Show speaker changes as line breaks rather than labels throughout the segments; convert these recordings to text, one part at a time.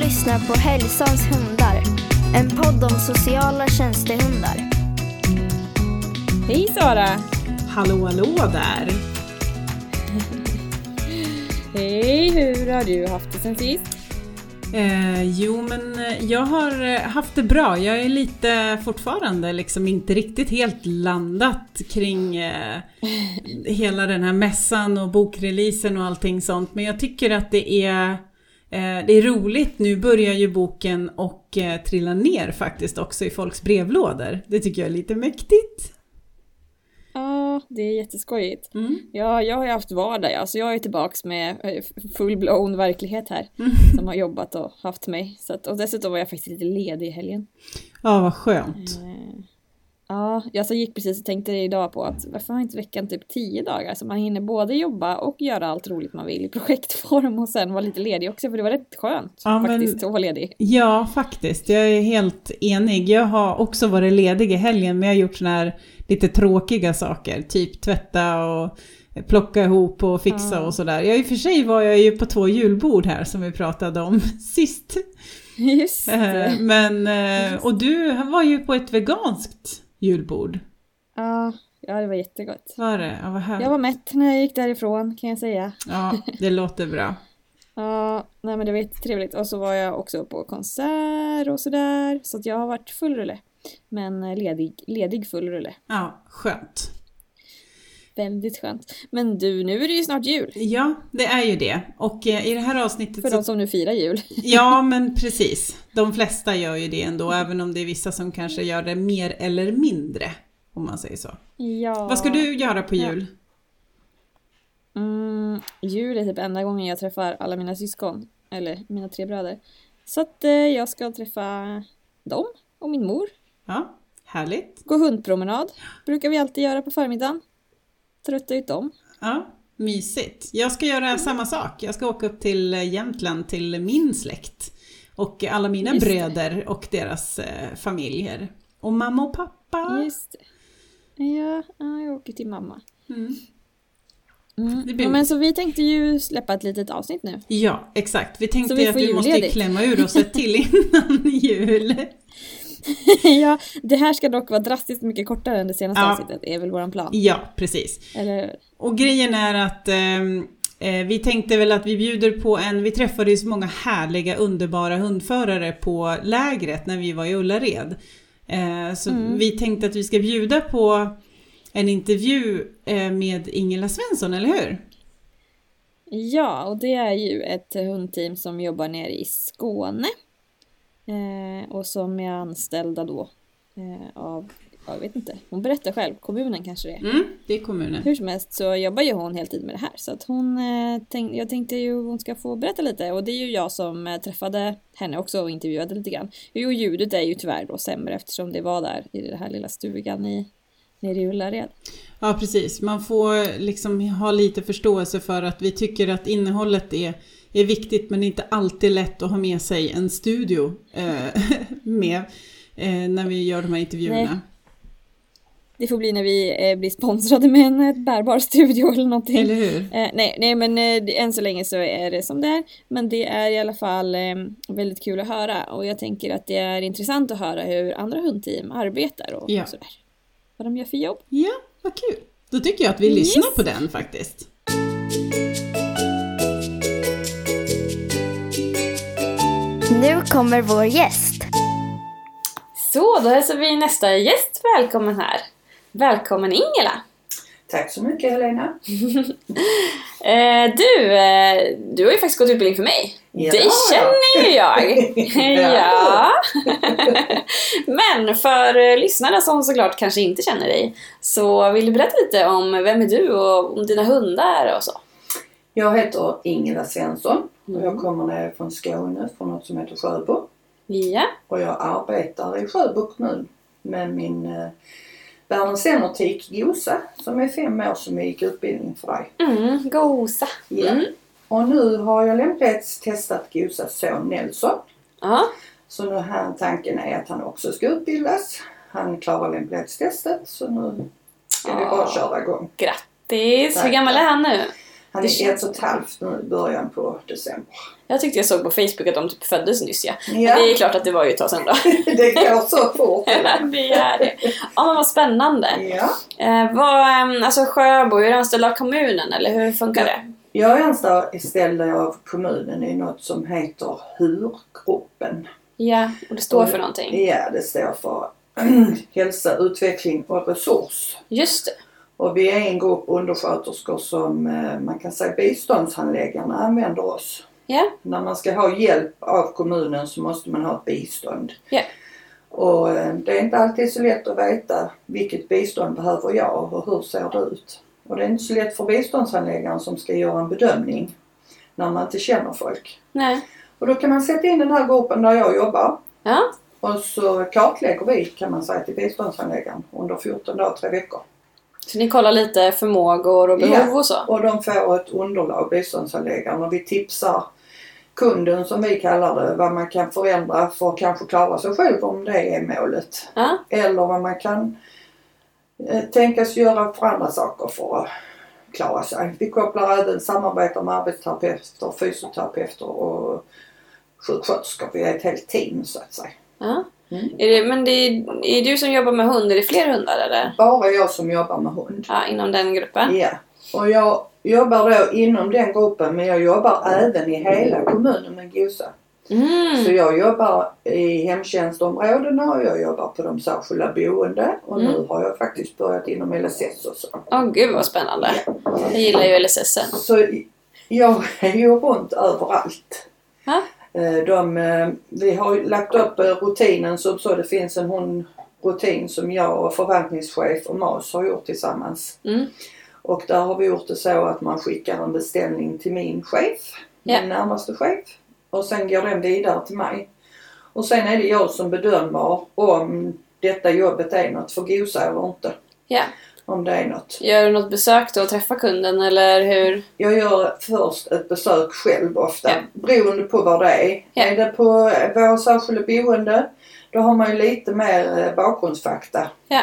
lyssnar på Hälsans hundar, en podd om sociala tjänstehundar.
Hej Sara!
Hallå hallå där!
Hej, hur har du haft det sen sist?
Eh, jo men jag har eh, haft det bra. Jag är lite fortfarande liksom inte riktigt helt landat kring eh, hela den här mässan och bokreleasen och allting sånt. Men jag tycker att det är, eh, det är roligt. Nu börjar ju boken och eh, trilla ner faktiskt också i folks brevlådor. Det tycker jag är lite mäktigt.
Ja, det är jätteskojigt.
Mm.
Ja, jag har ju haft vardag ja, så jag är tillbaks med eh, full-blown verklighet här.
Mm.
Som har jobbat och haft mig. Så att, och dessutom var jag faktiskt lite ledig i helgen.
Ja, vad skönt.
Eh, Ja, jag så gick precis och tänkte idag på att varför har inte veckan typ tio dagar? Så man hinner både jobba och göra allt roligt man vill i projektform och sen vara lite ledig också för det var rätt skönt
Ja, men-
faktiskt att vara ledig.
Ja, faktiskt. Jag är helt enig. Jag har också varit ledig i helgen, men jag har gjort såna här lite tråkiga saker. Typ tvätta och plocka ihop och fixa
Ja.
och sådär. Jag i och för sig var jag ju på två julbord här som vi pratade om sist.
Just det.
Eh, Men, eh, och du var ju på ett veganskt julbord.
Ja, ja, det var jättegott.
Var det? Ja, vad
Jag
härligt.
var mätt när jag gick därifrån kan jag säga.
Ja, det låter bra.
Ja, nej men det var jättetrevligt. Och så var jag också på konsert och sådär. Så att jag har varit full rulle. Men eh, ledig, ledig full rulle.
Ja, skönt.
Väldigt skönt. Men du, nu är det ju snart jul.
Ja, det är ju det. Och eh, i det här avsnittet
För
så
de som nu firar jul.
Ja, men precis. De flesta gör ju det ändå, även om det är vissa som kanske gör det mer eller mindre, om man säger så.
Ja.
Vad ska du göra på
Ja.
jul?
Mm, jul är typ enda gången jag träffar alla mina syskon. Eller mina tre bröder. Så att eh, jag ska träffa dem och min mor.
Ja, härligt.
Gå hundpromenad. Brukar vi alltid göra på förmiddagen. Trötta ut dem.
Ja, mysigt. Jag ska göra
Mm.
samma sak. Jag ska åka upp till Jämtland till min släkt och alla mina
Just det.
bröder och deras eh, familjer. Och mamma och pappa.
Just det. Ja, ja, jag åker till mamma.
Mm.
Mm.
Det blir
Ja, men så vi tänkte ju släppa ett litet avsnitt nu.
Ja, exakt. Vi tänkte
vi
att
får
vi måste
julledigt.
klämma ur oss ett till innan jul.
ja, det här ska dock vara drastiskt mycket kortare än det senaste
Ja.
avsnittet, är väl våran plan.
Ja, precis.
Eller
Och grejen är att ehm, eh, vi tänkte väl att vi bjuder på en, vi träffade ju så många härliga underbara hundförare på lägret när vi var i Ullared. Eh, så vi tänkte att vi ska bjuda på en intervju eh, med Ingela Svensson, eller hur?
ja, och det är ju ett hundteam som jobbar nere i Skåne. Eh, och som är anställda då eh, av, jag vet inte, hon berättar själv, kommunen kanske det är.
Mm, det är kommunen.
Hur som helst så jobbar ju hon heltid med det här så att hon, eh, tänk, jag tänkte ju hon ska få berätta lite och det är ju jag som eh, träffade henne också och intervjuade lite grann. Jo, ljudet är ju tyvärr då sämre eftersom det var där i den här lilla stugan i, nere i Ullared.
Ja, precis. Man får liksom ha lite förståelse för att vi tycker att innehållet är, är viktigt men det är inte alltid lätt att ha med sig en studio eh, med eh, när vi gör de här intervjuerna.
Nej. Det får bli när vi eh, blir sponsrade med en eh, bärbar studio eller någonting.
Eller hur?
Eh, nej, nej, men eh, det- än så länge så är det som det är. Men det är i alla fall eh, väldigt kul att höra och jag tänker att det är intressant att höra hur andra hundteam arbetar och,
Ja.
och sådär. Vad de gör för jobb.
Ja, vad kul. Då tycker jag att vi
Yes.
lyssnar på den faktiskt.
Nu kommer vår gäst.
Så, då hälsar vi nästa gäst välkommen här. Välkommen Ingela!
Tack så mycket Helena.
Eh, du, eh, du har ju faktiskt gått utbildning för mig.
Ja.
Det känner ju jag!
Ja.
ja. Men för eh, lyssnarna som såklart kanske inte känner dig, så vill du berätta lite om vem är du och om dina hundar och så?
Jag heter Ingela Svensson och
Mm.
jag kommer ner från Skåne från något som heter Sjöbo.
Ja.
Och jag arbetar i Sjöbo kommun med min eh, Världens sämre tik Gosa som är fem år som jag gick utbildningen för dig.
Mm, gosa.
Ja.
Mm.
Och nu har jag lämplighetstestat Gosas son Nelson.
Ja.
Så nu här, tanken är att han också ska utbildas. Han klarar lämplighetstestet så nu ska vi bara
Ah.
köra igång.
Grattis! Hur gammal är han nu?
Han Han
Det
är ett och ett halvt nu i början på december.
Jag tyckte jag såg på Facebook att de typ föddes nyss ja. Men
Ja.
det är klart att det var ju ett tag sedan då.
det går så fort.
det är det. Ja men vad spännande.
Ja.
Eh, vad, ehm, alltså Sjöbo, är du anställd av kommunen eller hur funkar det?
Jag är anställd av kommunen i något som heter HUR-gruppen.
Ja, och det står för någonting.
Ja, det står för hälsa, utveckling och resurs.
Just det.
Och vi är en grupp undersköterskor som eh, man kan säga biståndshandläggarna använder oss.
Ja,
När man ska ha hjälp av kommunen så måste man ha ett bistånd.
Ja.
Och eh, det är inte alltid så lätt att veta vilket bistånd behöver jag och hur ser det ut. Och det är inte så lätt för biståndshandläggaren som ska göra en bedömning när man inte känner folk.
nej.
Och då kan man sätta in den här gruppen där jag jobbar
Ja,
och så kartlägger vi kan man säga till biståndsanläggaren under 14 dagar, tre veckor.
så ni kollar lite förmågor och behov
Ja.
och så?
Och de får ett underlag, biståndsanläggaren, och vi tipsar kunden som vi kallar det, vad man kan förändra för att kanske klara sig själv om det är målet.
Ja,
Eller vad man kan eh, tänkas göra för andra saker för att klara sig. Vi kopplar även samarbete med arbetsterapeuter, fysioterapeuter och sjuksköterskor. Vi är ett helt team så att säga.
ja.
Mm.
Är det, men det är, är det du som jobbar med hund? Är det fler hundar eller?
Bara jag som jobbar med hund.
Ja, inom den gruppen?
Ja, och jag jobbar då inom den gruppen men jag jobbar även i hela kommunen med Gosa. Så
Mm.
jag jobbar i hemtjänstområdena och jag jobbar på de särskilda boende och
Mm.
nu har jag faktiskt börjat inom LSS och så.
Åh gud vad spännande. Jag gillar ju LSS.
Så jag är ju runt överallt.
Ja.
Eh, De, eh, vi har ju lagt upp eh, rutinen så, så det finns en hon rutin som jag och förvaltningschef och MAS har gjort tillsammans.
Mm.
Och där har vi gjort det så att man skickar en beställning till min chef,
Ja.
min närmaste chef. Och sen går den vidare till mig. Och sen är det jag som bedömer om detta jobbet är något för Gosa eller inte.
Ja.
Om det är något.
Gör du något besök då och träffar kunden eller hur?
Jag gör först ett besök själv ofta.
Ja.
Beroende på var det är.
Ja.
Är det på vår särskilda boende, då har man ju lite mer eh, bakgrundsfakta.
Ja.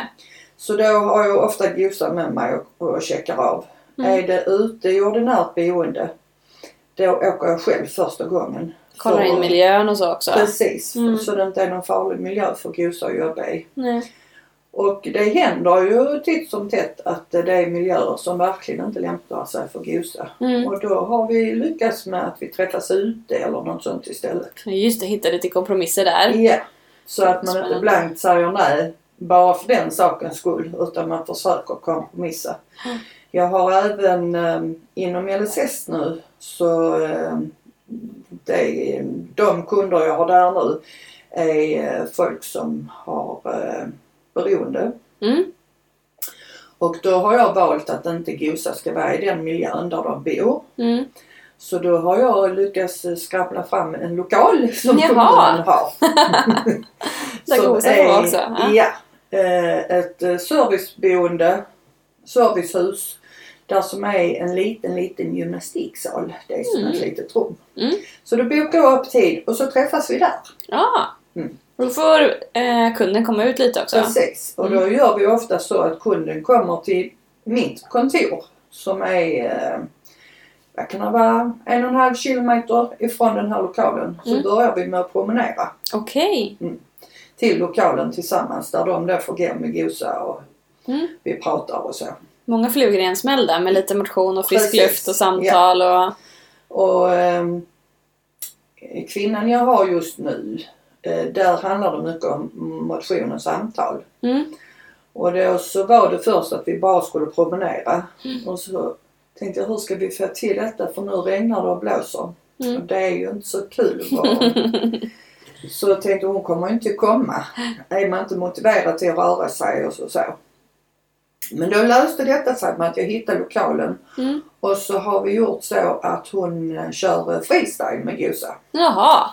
Så då har jag ofta Gosa med mig och, och checkar av.
Mm.
Är det ute i ordinärt boende, då åker jag själv första gången.
Kollar
För-
in miljön och så också?
Precis,
Mm.
så det inte är någon farlig miljö för Gosa att jobba i.
Nej.
Och det händer ju titt som tätt att det är miljöer som verkligen inte lämpar sig för Gosa.
Mm.
Och då har vi lyckats med att vi träffas ute eller något sånt istället.
Just det, hitta lite kompromisser där.
Ja, så att man inte
Spännande.
blankt säger nej bara för den sakens skull utan man försöker kompromissa. Jag har även eh, inom LSS nu så eh, det, är- de kunder jag har där nu är eh, folk som har eh, beroende.
Mm.
Och då har jag valt att inte Gosa ska vara i den miljön där de bor.
Mm.
Så då har jag lyckats skramla fram en lokal som
Jaha.
kommunen har.
Där
Som
Gosa får
är-
vara också, ja.
Ja. eh, Ett eh, serviceboende, servicehus. Där som är en liten, liten gymnastiksal. Det är som ett litet rum.
Mm.
Så då bokar jag upp tid och så träffas vi där.
Ja.
Mm.
Då får eh, kunden komma ut lite också.
Precis. Och
Mm.
då gör vi ofta så att kunden kommer till mitt kontor som är, eh, vad kan det vara, en och en halv kilometer ifrån den här lokalen. Så
Mm.
börjar vi med att promenera
Okej.
till lokalen tillsammans där de då får gå med gosa och
Mm.
vi pratar och så.
Många flugor i en smäll där med lite motion och frisk
Precis.
luft och samtal och...
Och ehm, kvinnan jag har just nu, eh, där handlar det mycket om motion och samtal.
Mm.
Och då så var det först att vi bara skulle promenera.
Mm.
Och så tänkte jag, hur ska vi få till detta? För nu regnar det och blåser.
Mm.
Och det är ju inte så kul att vara. så jag tänkte, hon kommer ju inte komma. Är man inte motiverad till att röra sig och så. så. Men då löste detta sig med att jag hittade lokalen.
Mm.
Och så har vi gjort så att hon eh, kör eh, freestyle med Gosa
Jaha.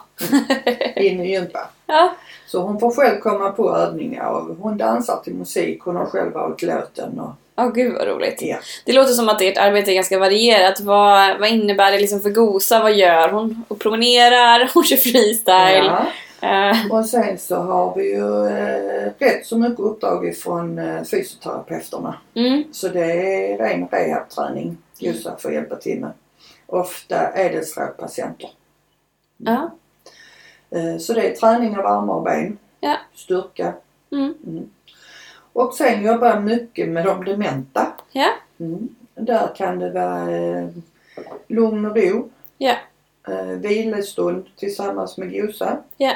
in i gympa.
Ja.
Så hon får själv komma på övningar och hon dansar till musik. Hon har själv valt låten. Och,
Åh gud vad roligt.
ja.
Det låter som att ert arbete är ganska varierat. Vad, vad innebär det liksom för Gosa? Vad gör hon? Hon promenerar, hon kör freestyle.
Ja.
Eh,
Och sen så har vi ju eh, rätt så mycket uppdrag ifrån eh, fysioterapeuterna.
mm,
Så det är ren rehabträning just att få hjälpa till med. Ofta ädelstråkpatienter.
ja,
Eh, Så det är träning av armar och ben,
Ja.
styrka.
mm,
Och sen jobbar jag mycket med de dementa.
ja,
Mm. Där kan det vara eh, lugn och ro,
ja,
eh, vilostund tillsammans med Gosa.
ja,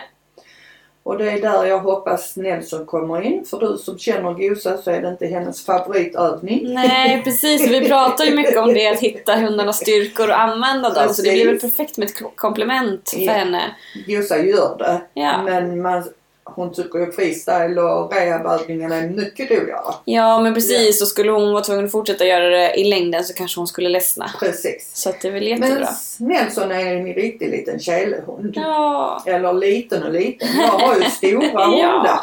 Och det är där jag hoppas Nelson kommer in. För du som känner Gosa så är det inte hennes favoritövning.
nej precis. Vi pratar ju mycket om det, att hitta hundarnas styrkor och använda dem. Så det blir väl perfekt med ett ko- komplement för
Ja.
henne.
Gosa gör det.
Ja.
Men man, hon tycker ju freestyle och rehabövningarna är mycket roligare.
Ja, men precis. Och skulle hon vara tvungen att fortsätta göra det i längden så kanske hon skulle ledsna.
Precis.
Så att det är väl
Men
jättebra.
Nelson är en riktig liten kälehund.
Ja,
Eller liten och liten. Jag har ju stora hundar.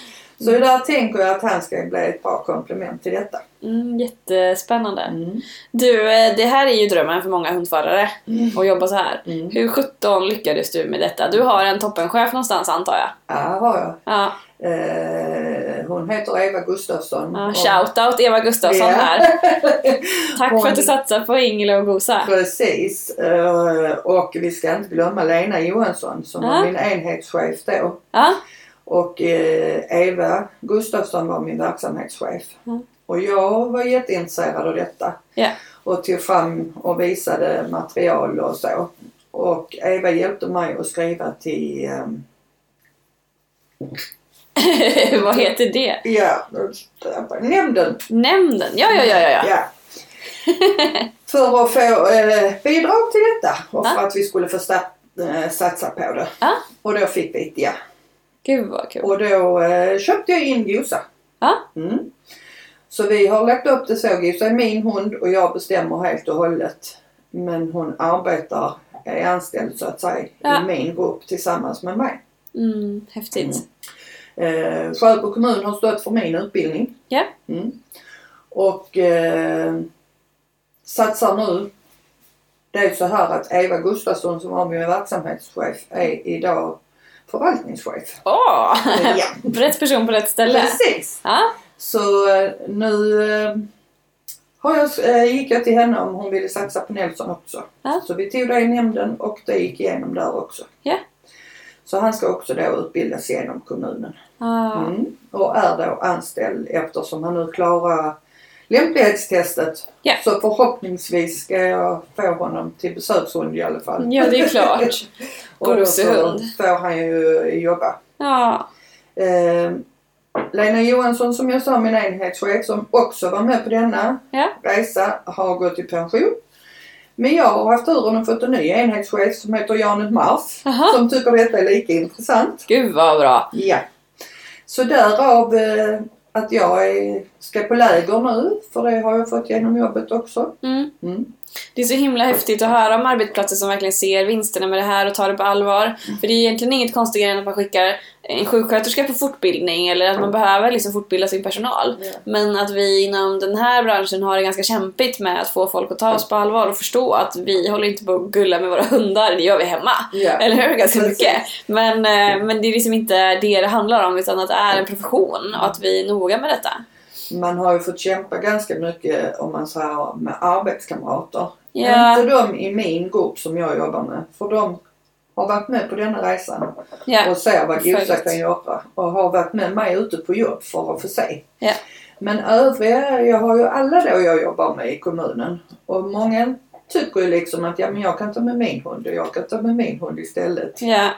Så där tänker jag att han ska bli ett bra komplement till detta.
mm, jättespännande.
Mm.
Du, eh, det här är ju drömmen för många hundförare. Att jobba så här.
Mm.
Hur sjutton lyckades du med detta? Du har en toppenchef någonstans antar jag?
Ja, har jag.
Ja.
Eh, hon heter Eva Gustafsson.
ja
Och-
shoutout Eva Gustafsson
Ja.
här. Tack för att du
Hon-
satsar på Ingela och Gosa.
Precis. Eh, och vi ska inte glömma Lena Johansson som
Ja.
var min enhetschef då.
Ja,
Och eh, Eva Gustafsson var min verksamhetschef.
Mm.
Och jag var jätteintresserad av detta.
Ja.
Och tog fram och visade material och så. Och Eva hjälpte mig att skriva till... ehm,
vad heter det?
ja, nämnden.
Nämnden? Ja, ja, ja, ja. ja.
Ja. för att få eh, bidrag till detta och för att vi skulle få sta- eh, satsa på det.
Ja.
Och då fick vi ett ja.
Gud vad kul.
Och då eh, köpte jag in Gosa.
Ja.
Mm. Så vi har lagt upp det så. Gosa är min hund och jag bestämmer helt och hållet. Men hon arbetar, är anställd så att säga,
Ja.
i min grupp tillsammans med mig.
Mm, häftigt.
Eh, Sjöbo kommun har stått för min utbildning.
Ja.
Mm. Och eh, satsar nu. Det är så här att Eva Gustafsson som var min verksamhetschef är idag förvaltningschef.
Åh!
Ja,
Rätt person på rätt ställe.
precis.
Ja,
Så eh, nu eh, har jag, eh, gick jag till henne om hon ville satsa på Nelson också.
Ja.
Så vi tog det i nämnden och det gick igenom där också.
Ja.
Så han ska också då utbildas genom kommunen.
ja.
Mm. Och är då anställd eftersom han nu klarar lämplighetstestet.
Ja.
Så förhoppningsvis ska jag få honom till besökshund i alla fall.
ja det är klart.
och då så
gosehund.
får han ju jobba.
Ja,
Eh, Lena Johansson som jag sa, min enhetschef som också var med på denna
Ja.
resa har gått i pension. Men jag har haft turen att fått en ny enhetschef som heter Janet Mars
Aha.
som tycker detta är lika intressant.
gud vad bra.
Ja. Så därav eh, att jag är, ska på läger nu för det har jag fått genom jobbet också.
Mm.
Mm.
Det är så himla häftigt att höra om arbetsplatser som verkligen ser vinsterna med det här och tar det på allvar.
Mm.
För det är egentligen inget konstigare än att man skickar en sjuksköterska på fortbildning eller att man behöver liksom fortbilda sin personal.
Mm. Ja.
Men att vi inom den här branschen har det ganska kämpigt med att få folk att ta oss på allvar och förstå att vi håller inte på att gulla med våra hundar, det gör vi hemma.
Ja.
Eller hur? Ganska
Precis.
mycket. Men, eh, men det är liksom inte det det handlar om utan att det är en profession och att vi är noga med detta.
Man har ju fått kämpa ganska mycket om man säger med arbetskamrater.
Ja.
Inte de i min grupp som jag jobbar med. För de har varit med på denna resan
Ja.
och ser vad Gosa
Följt.
kan göra. Och har varit med mig ute på jobb för att få se.
Ja.
Men övriga, jag har ju alla då jag jobbar med i kommunen. Och många tycker ju liksom att ja, men jag kan ta med min hund och jag kan ta med min hund istället.
Ja.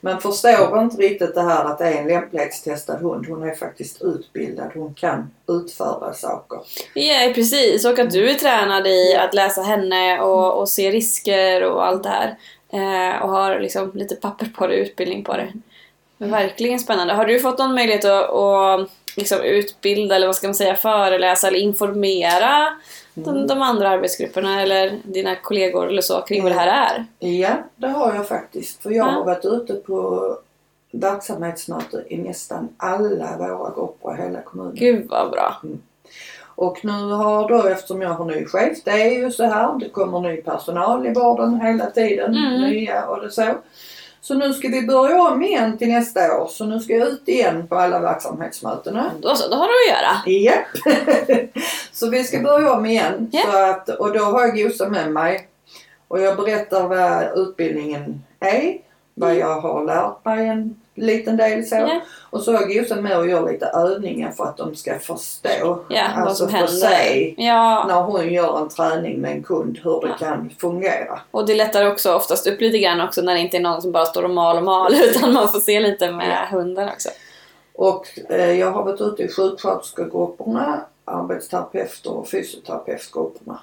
Men förstår inte riktigt det här att det är en lämplighetstestad hund. Hon är faktiskt utbildad. Hon kan utföra saker.
Ja, precis. Och att du är tränad i att läsa henne och, och se risker och allt det här. Eh, och har liksom lite papper på det, utbildning på det. Men verkligen spännande. Har du fått någon möjlighet att, att liksom utbilda eller vad ska man säga, föreläsa eller informera de, de andra arbetsgrupperna eller dina kollegor eller så kring vad det här är?
Ja, det har jag faktiskt. För jag
Ja.
har varit ute på verksamhetsmöte i nästan alla våra grupper i hela kommunen.
Gud vad bra.
Och nu har då, eftersom jag har ny chef, det är ju så här, det kommer ny personal i vården hela tiden,
Mm.
nya och det så. Så nu ska vi börja om igen till nästa år. Så nu ska jag ut igen på alla verksamhetsmötena.
Då så, då har du att göra.
Japp! så vi ska börja om igen.
Ja.
Så att, och då har jag Gosa med mig. Och jag berättar vad utbildningen är. Vad jag har lärt mig en liten del så.
Mm. Ja.
Och så har jag Gosa med och gör lite övningar för att de ska förstå.
Ja, vad
alltså
som
få se
händer. Ja,
när hon gör en träning med en kund hur det kan fungera.
och det lättar också oftast upp lite grann också när det inte är någon som bara står och mal och mal utan man får se lite med hunden också.
Och eh, jag har varit ute i sjuksköterskegrupperna, arbetsterapeuter och fysioterapeutgrupperna.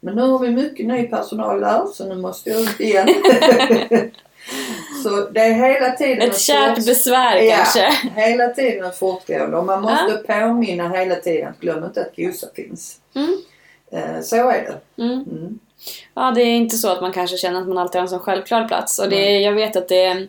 Men nu har vi mycket ny personal där så nu måste jag ut igen. så det är hela tiden
Ett kärt
fort-
besvär
Ja.
kanske.
hela tiden ett fortgående och man måste påminna hela tiden att glöm inte att Gosa finns.
Mm.
Eh, så är det.
Mm.
Mm.
Ja, det är inte så att man kanske känner att man alltid har en sån självklar plats. Och det, jag vet att det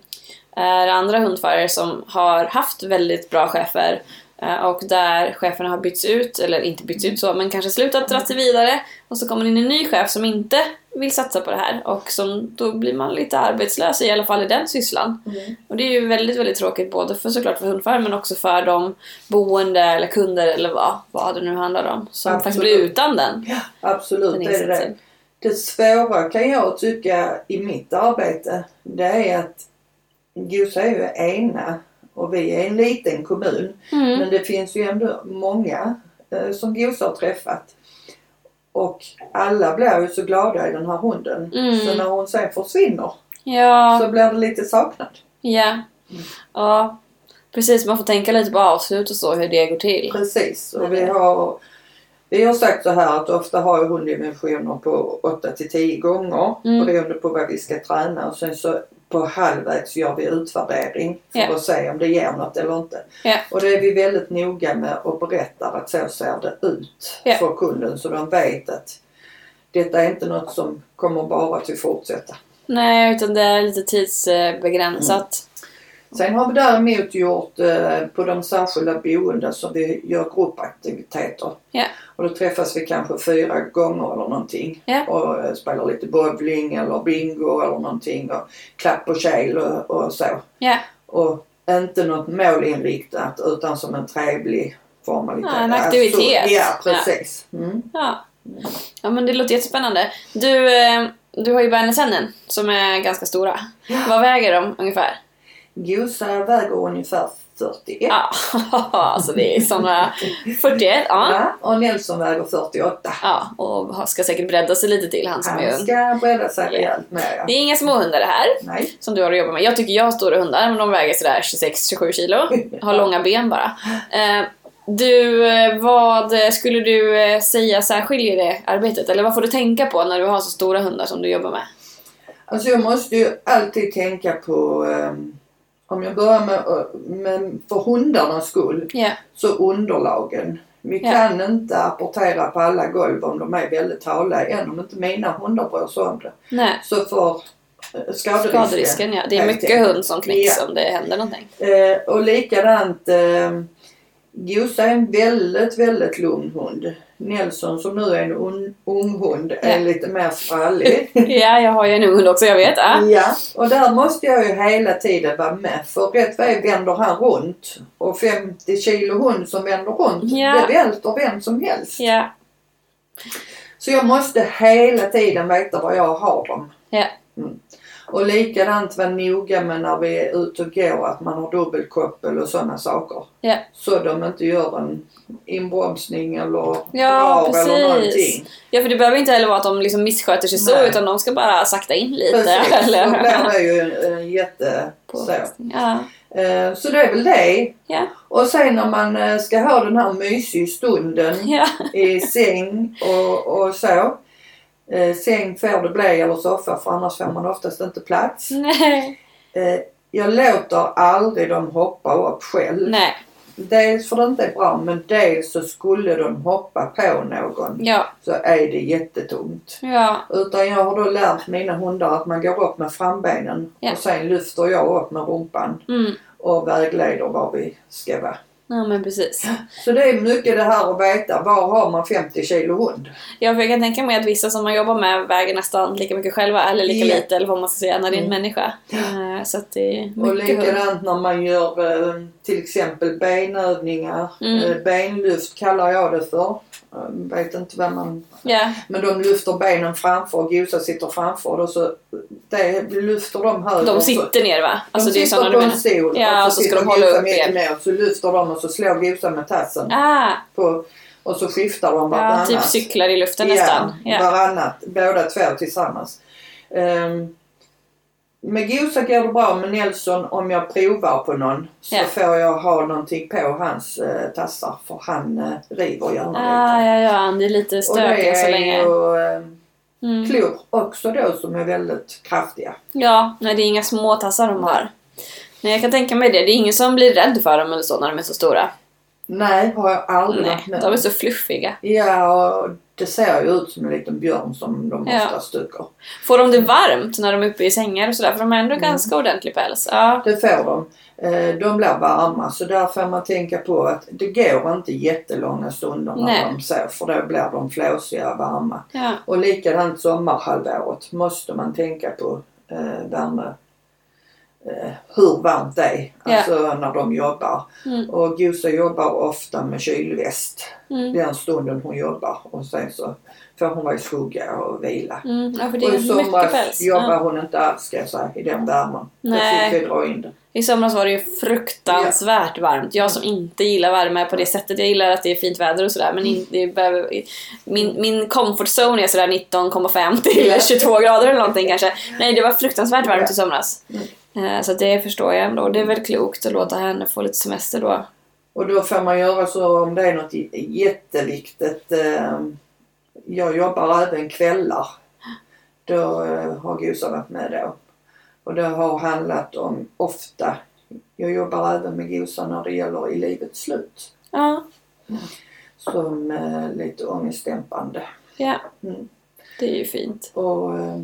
är andra hundförare som har haft väldigt bra chefer eh, och där cheferna har bytts ut, eller inte bytts ut så, men kanske slutat dra sig vidare och så kommer det in en ny chef som inte vill satsa på det här och som, då blir man lite arbetslös i alla fall i den sysslan.
Mm.
Och det är ju väldigt, väldigt tråkigt både för såklart för hundförare men också för de boende eller kunder eller vad, vad det nu handlar om som faktiskt blir
Absolut.
utan den.
Ja, absolut,
Den
det är det.
insatsen.
Det svåra kan jag tycka i mitt arbete, det är att Gosa är ju ena och vi är en liten kommun.
Mm.
Men det finns ju ändå många eh, som Gosa har träffat. Och alla blir ju så glada i den här hunden.
Mm.
Så när hon sen försvinner
Ja.
så blir det lite saknad.
Ja. Ja. Precis, man får tänka lite på avslut och så, hur det går till.
Precis.
Ja,
Och
det
vi
är det.
har, vi har sagt så här att ofta har ju hunddimensioner på 8 till 10 gånger
Mm.
beroende på vad vi ska träna och sen så på halvvägs gör vi utvärdering för
Ja.
att se om det ger något eller inte.
Ja.
Och det är vi väldigt noga med och berättar att så ser det ut
Ja.
för kunden så de vet att detta är inte något som kommer bara till fortsätta.
Nej, utan det är lite tidsbegränsat.
Mm. Sen har vi däremot gjort eh, på de särskilda boenden som vi gör gruppaktiviteter.
Ja.
Och då träffas vi kanske fyra gånger eller någonting.
Ja.
Och eh, spelar lite bowling eller bingo eller någonting och klapp och kejl och, och så.
Ja.
Och inte något målinriktat utan som en trevlig formalitet.
Ja, en aktivitet.
Alltså, ja, precis. Mm.
Ja. ja, men det låter jättespännande. Du, eh, du har ju Bernesennen som är ganska stora. Vad väger de ungefär?
Gosa väger ungefär 41.
Ja, alltså det är såna 41. Ja.
Ja, och Nelson väger 48.
ja, och ska säkert bredda sig lite till han som är
Han
ung.
ska bredda sig
Ja.
rejält med ja.
Det är inga små hundar det här.
Nej.
som du har att jobba med. Jag tycker jag har stora hundar, men de väger sådär 26-27 kilo. Har långa ben bara. Eh, Du, eh, vad skulle du eh, säga särskiljer det arbetet? Eller vad får du tänka på när du har så stora hundar som du jobbar med?
Alltså jag måste ju alltid tänka på ehm, om jag börjar med, med för hundarnas skull
Ja,
så underlagen. Vi
Ja.
kan inte apportera på alla golv om de är väldigt hala än om inte mina hundar bryr sig om det.
nej.
Så för eh, skaderisken.
Skaderisken ja. Det är
helt
mycket
enkelt.
hund som knäcks
Ja.
om det händer någonting.
Eh, och likadant eh, Gosa är en väldigt, väldigt lugn hund. Nelson som nu är en un, ung hund är
Ja.
lite mer sprallig.
Ja, jag har ju en ung hund också, jag vet. Ah. Ja.
Ja, och där måste jag ju hela tiden vara med för rätt väg vänder han runt och 50 kilo hund som vänder runt,
Ja.
det välter vem som helst.
Ja.
Så jag måste hela tiden veta var jag har dem.
Ja.
Mm. Och likadant vara noga med när vi är ute och går att man har dubbelkoppel och sådana saker.
Ja.
Så de inte gör en inbromsning eller
Ja,
drar eller
precis.
någonting.
ja, för det behöver inte heller vara att de liksom missköter sig så,
Nej.
utan de ska bara sakta in lite.
Precis, så
eller...
blir det ju en, en jätte... Så.
Ja.
Eh, så det är väl det.
Ja.
Och sen när man eh, ska ha den här mysiga stunden
Ja.
i säng och, och så. Eh, säng får det bli eller soffa för annars får man oftast inte plats.
Nej.
Eh, jag låter aldrig dem hoppa upp själv.
Nej.
Dels för det inte är bra men dels så skulle de hoppa på någon
Ja.
så är det jättetungt.
Ja.
Utan jag har då lärt mina hundar att man går upp med frambenen
Ja.
och sen lyfter jag upp med rumpan
Mm.
och vägleder var vi ska vara.
Ja, men precis.
Så det är mycket det här att veta. Var har man 50 kilo hund?
Ja, för jag kan tänka mig att vissa som man jobbar med väger nästan lika mycket själva, eller lika
Ja. Mm.
lite, eller vad man ska säga, när det är en människa. Eh, Så att det är
Och
mycket hund.
likadant när man gör eh, till exempel benövningar.
Mm.
Eh, benlyft kallar jag det för. Eh, vet inte vad man...
Ja,
Men de lyfter benen framför och Gosa sitter framför. Och så det lyfter de höger.
de
och så-
sitter ner va? Alltså,
de
det är
sitter
sådana
på
du
en
menar?
stol
Ja, och så ska
sitter
de hålla
Gosa
upp
mitt
ben.
ner, Så lyfter de och så slår Gosa med tassen.
Ah,
På, och så skiftar de
ja,
vartannat.
typ cyklar i luften nästan.
Ja,
Ja.
varannat. Båda två tillsammans. Ehm, med Gosa går det bra med Nelson om jag provar på någon så
Ja.
får jag ha någonting på hans eh, tassar för han eh, river gärna
Ah,
lite.
ja, ja, det är lite
Och det
stökigt så
är
länge.
ju ehm,
Mm.
klor också då som är väldigt kraftiga.
Ja, nej det är inga små tassar de har. Nej, jag kan tänka mig det. Det är ingen som blir rädd för dem eller så när de är så stora.
Nej, har jag aldrig
Nej,
varit med
de är så fluffiga.
Ja, och det ser ju ut som en liten björn som de
Ja.
oftast tycker.
Får de det varmt när de är uppe i sängar och sådär? För de har ändå
Mm.
ganska ordentlig päls. Ja.
Det får de. Eh, De blir varma så där får man tänka på att det går inte jättelånga stunder när
Nej.
de sover för då blir de flåsiga och varma.
ja.
Och likadant sommarhalvåret måste man tänka på eh, värme. Eh, hur varmt det är
Ja.
alltså när de jobbar.
Mm.
Och Gosa jobbar ofta med kylväst
Mm.
den stunden hon jobbar och sen så får hon vara i skugga och vila.
Mm. ja, för det
Och i
är mycket
somras
päls.
jobbar
Ja.
hon inte alls ska jag säga i den värmen.
Nej.
Där fick vi dra in det.
I somras var det ju fruktansvärt varmt. Jag som inte gillar värme på det sättet. Jag gillar att det är fint väder och sådär men
Mm.
in, det behöver, min, min comfort zone är sådär 19,5 till 22 grader eller någonting kanske. Nej, det var fruktansvärt varmt i somras.
Mm.
Eh, Så att det förstår jag ändå. Det är väl klokt att låta henne få lite semester då.
Och då får man göra så om det är något j- jätteviktigt. Eh, jag jobbar även kvällar. Då eh, har Gosa varit med då. Och det har handlat om ofta. Jag jobbar även med Gosa när det gäller i livets slut.
Ja,
Som eh, lite ångestdämpande.
ja.
Mm.
det är ju fint.
Och eh,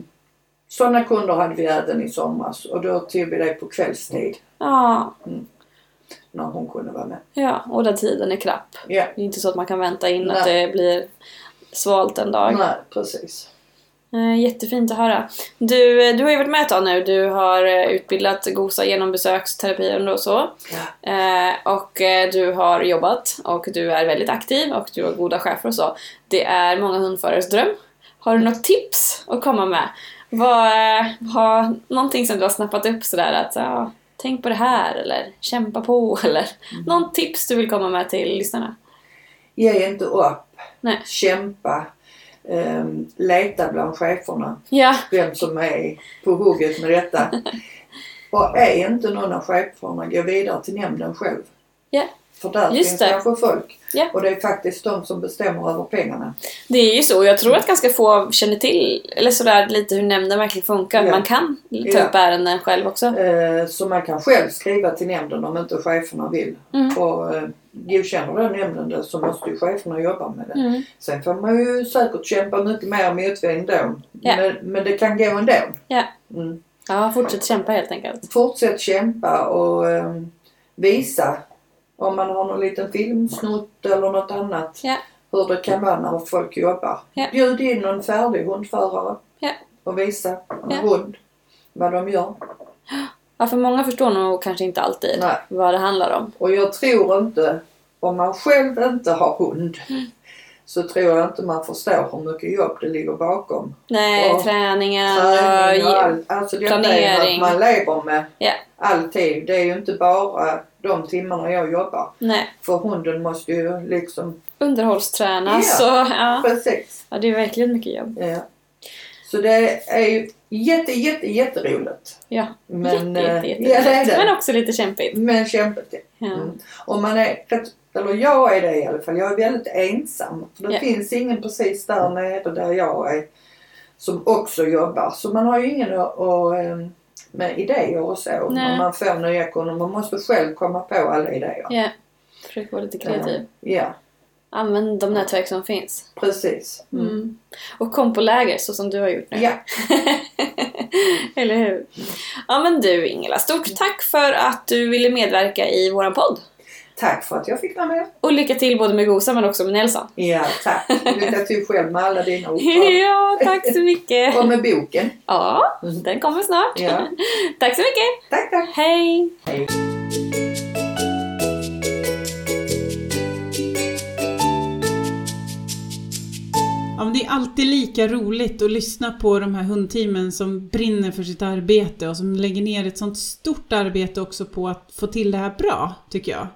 sådana kunder hade vi även i somras. Och då tog vi det på kvällstid
Ja,
när hon kunde vara med.
ja. och där tiden är knapp.
Ja,
Det är inte så att man kan vänta in
Nej.
att det blir svalt en dag.
nej precis.
Eh, Jättefint att höra. Du, eh, du har ju varit med ett tag nu. Du har eh, utbildat Gosa genom besöksterapi och så. Eh, och eh, du har jobbat och du är väldigt aktiv och du har goda chefer och så. Det är många hundförares dröm. Har du något tips att komma med? Vad, eh, har någonting som du har snappat upp sådär att ja, tänk på det här eller kämpa på eller
Mm.
någon tips du vill komma med till lyssnarna?
Ge inte upp.
Nej.
Kämpa. Ehm, leta bland cheferna.
Ja,
Vem som är på hugget med detta. Och är inte någon av cheferna, gå vidare till nämnden själv.
ja.
För där
Just
finns
det.
kanske folk.
Ja.
Och det är faktiskt de som bestämmer över pengarna.
Det är ju så. Jag
Mm.
tror att ganska få känner till eller sådär lite hur nämnden verkligen funkar.
Ja.
Man kan ta
Ja.
upp ärenden själv också.
Eh, så man kan själv skriva till nämnden om inte cheferna vill.
Mm.
Och eh, godkänner den nämnden det så måste ju cheferna jobba med det.
Mm.
Sen får man ju säkert kämpa mycket mer motvind då.
Ja.
Men, men det kan gå ändå.
Ja.
Mm.
ja, fortsätt kämpa helt enkelt.
fortsätt kämpa och eh, visa om man har någon liten filmsnutt eller något annat
Ja.
hur det kan vara när folk jobbar.
Ja.
Bjud in någon färdig hundförare
Ja.
och visa en
Ja.
hund vad de gör.
Ja, för många förstår nog kanske inte alltid
Nej.
vad det handlar om.
Och jag tror inte, om man själv inte har hund
Mm.
så tror jag inte man förstår hur mycket jobb det ligger bakom.
Nej,
Ja.
träningen
Träning och
och...
all, alltså detta är något
planering.
man lever med
Ja.
alltid. Det är ju inte bara de timmarna jag jobbar.
Nej,
För hunden måste ju liksom...
underhållstränas
Ja.
och... Ja.
Precis.
ja, det är verkligen mycket jobb.
Ja. Så det är ju jätte, jätte, jätteroligt.
Ja,
Men,
jätte,
eh,
jätte, jätte,
ja, det är det.
Men också lite kämpigt.
Men kämpigt.
Ja.
Mm. Och man är rätt, eller jag är det i alla fall, jag är väldigt ensam. För det
Ja.
finns ingen precis där nere där jag är som också jobbar. Så man har ju ingen att, att, eh, med idéer och så. När
Nej.
man får nya kunder. Man måste själv komma på alla idéer.
ja. typ. Försök vara lite kreativ.
Ja,
Använd de nätverk som finns.
precis. Mm.
Mm. Och kom på läger så som du har gjort nu.
Ja,
Eller hur? Ja men du Ingela, stort tack för att du ville medverka i våran podd.
Tack för att jag fick vara med.
Och lycka till både med Gosa men också med Nelson.
Ja, tack. Lycka till själv med alla dina uppdrag.
Ja, tack så mycket.
Och med boken.
Ja, den kommer snart.
Ja.
Tack så mycket.
Tack, tack.
Hej!
Hej.
Ja, men det är alltid lika roligt att lyssna på de här hundteamen som brinner för sitt arbete och som lägger ner ett sånt stort arbete också på att få till det här bra, tycker jag.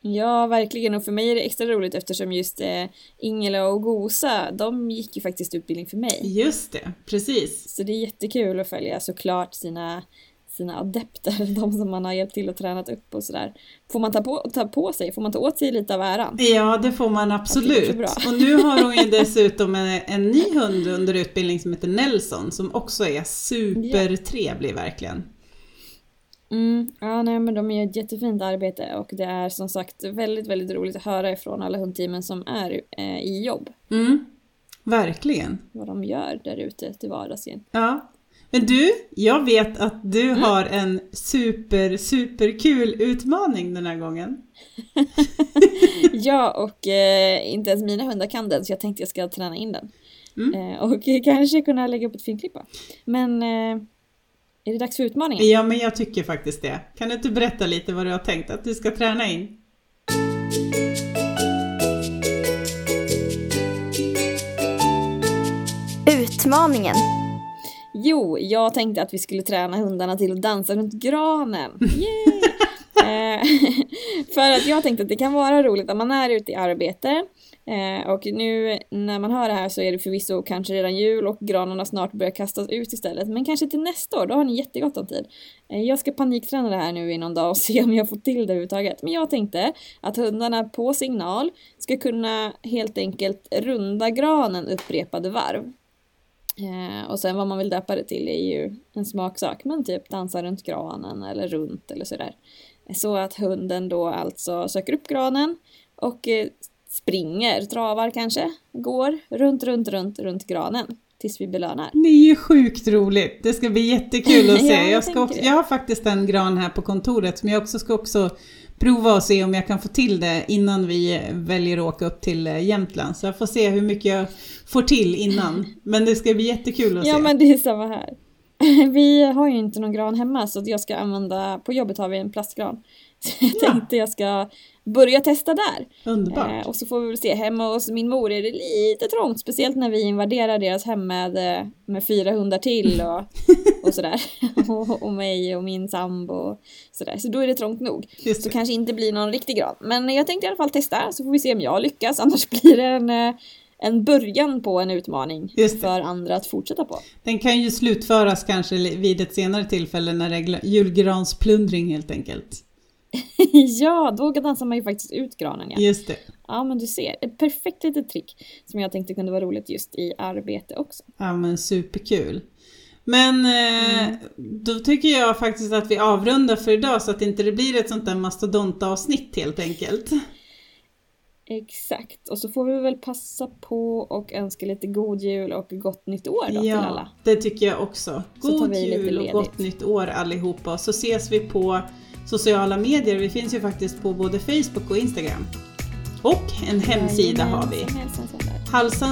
Ja, verkligen. Och för mig är det extra roligt eftersom just eh, Ingela och Gosa, de gick ju faktiskt utbildning för mig.
Just det, precis.
Så det är jättekul att följa såklart sina, sina adepter, de som man har hjälpt till och tränat upp och sådär. Får man ta på, ta på sig, får man ta åt sig lite av äran?
Ja, det får man
Okej,
absolut.
så bra.
Och nu har hon ju dessutom en, en ny hund under utbildning som heter Nelson som också är supertrevlig verkligen.
Mm, ja, nej, men de gör ett jättefint arbete och det är som sagt väldigt, väldigt roligt att höra ifrån alla hundteamen som är eh, i jobb.
Mm, verkligen.
Vad de gör där ute till vardags igen.
Ja. Men du, jag vet att du har en super, superkul utmaning den här gången.
Ja, och eh, inte ens mina hundar kan den så jag tänkte jag ska träna in den.
Mm.
Eh, och kanske kunna lägga upp ett filmklippa. Men eh, är det dags för utmaningen?
Ja, men jag tycker faktiskt det. Kan du inte berätta lite vad du har tänkt att du ska träna in?
Utmaningen.
Jo, jag tänkte att vi skulle träna hundarna till att dansa runt granen. Yay! Eh, För att jag tänkte att det kan vara roligt om man är ute i arbete. Eh, Och nu när man hör det här så är det förvisso kanske redan jul och granarna snart börjar kastas ut istället. Men kanske till nästa år, då har ni jättegott om tid. Eh, Jag ska panikträna det här nu i någon dag och se om jag får till det överhuvudtaget. Men jag tänkte att hundarna på signal ska kunna helt enkelt runda granen upprepade varv. Eh, och sen vad man vill döpa det till är ju en smaksak, men typ dansa runt granen eller runt eller sådär. Så att hunden då alltså söker upp granen och eh, springer, travar kanske, går runt, runt, runt, runt granen tills vi belönar.
Det är ju sjukt roligt. Det ska bli jättekul att se.
Ja, jag
jag, ska
tänker
också,
det.
jag har faktiskt en gran här på kontoret, men jag också ska också prova och se om jag kan få till det innan vi väljer att åka upp till eh, Jämtland. Så jag får se hur mycket jag får till innan. Men det ska bli jättekul att
Ja
se.
men det är samma här. Vi har ju inte någon gran hemma så att jag ska använda, på jobbet har vi en plastgran. Så jag
Ja.
tänkte jag ska börja testa där.
Underbart.
Eh, och så får vi väl se, hemma hos min mor är det lite trångt, speciellt när vi invaderar deras hem med, eh, med fyra hundar till och, och sådär. Och, och mig och min sambo och sådär. Så då är det trångt nog.
Just
Så
det.
kanske inte blir någon riktig gran. Men jag tänkte i alla fall testa, så får vi se om jag lyckas. Annars blir det en, eh, en början på en utmaning
Just det.
för andra att fortsätta på.
Den kan ju slutföras kanske li- vid ett senare tillfälle när det är gla- julgransplundring helt enkelt.
ja, då dansar man ju faktiskt ut granen ja.
Just det.
Ja men du ser, ett perfekt litet trick som jag tänkte kunde vara roligt just i arbete också.
Ja men superkul. Men eh,
Mm.
då tycker jag faktiskt att vi avrundar för idag så att inte det blir ett sånt där mastodontavsnitt helt enkelt.
Exakt, och så får vi väl passa på och önska lite god jul och gott nytt år då till alla.
det tycker jag också.
Så tar
God
vi lite
jul och
ledigt.
gott nytt år allihopa. Så ses vi på sociala medier. Vi finns ju faktiskt på både Facebook och Instagram. Och en hemsida har vi.
Jajamensan, hälsan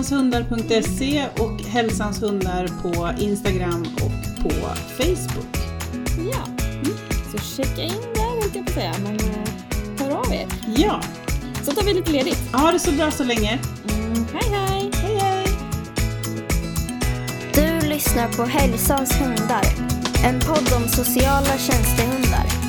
sån där.
Halsanshundar.se och Hälsanshundar på Instagram och på Facebook.
Ja, Mm. så checka in där tänkte jag på säga, men eh, hör av er.
Ja,
Så tar vi lite ledigt.
ha det så bra så länge.
Mm, hej hej!
Hej hej!
Du lyssnar på Hälsans hundar. En podd om sociala tjänstehundar.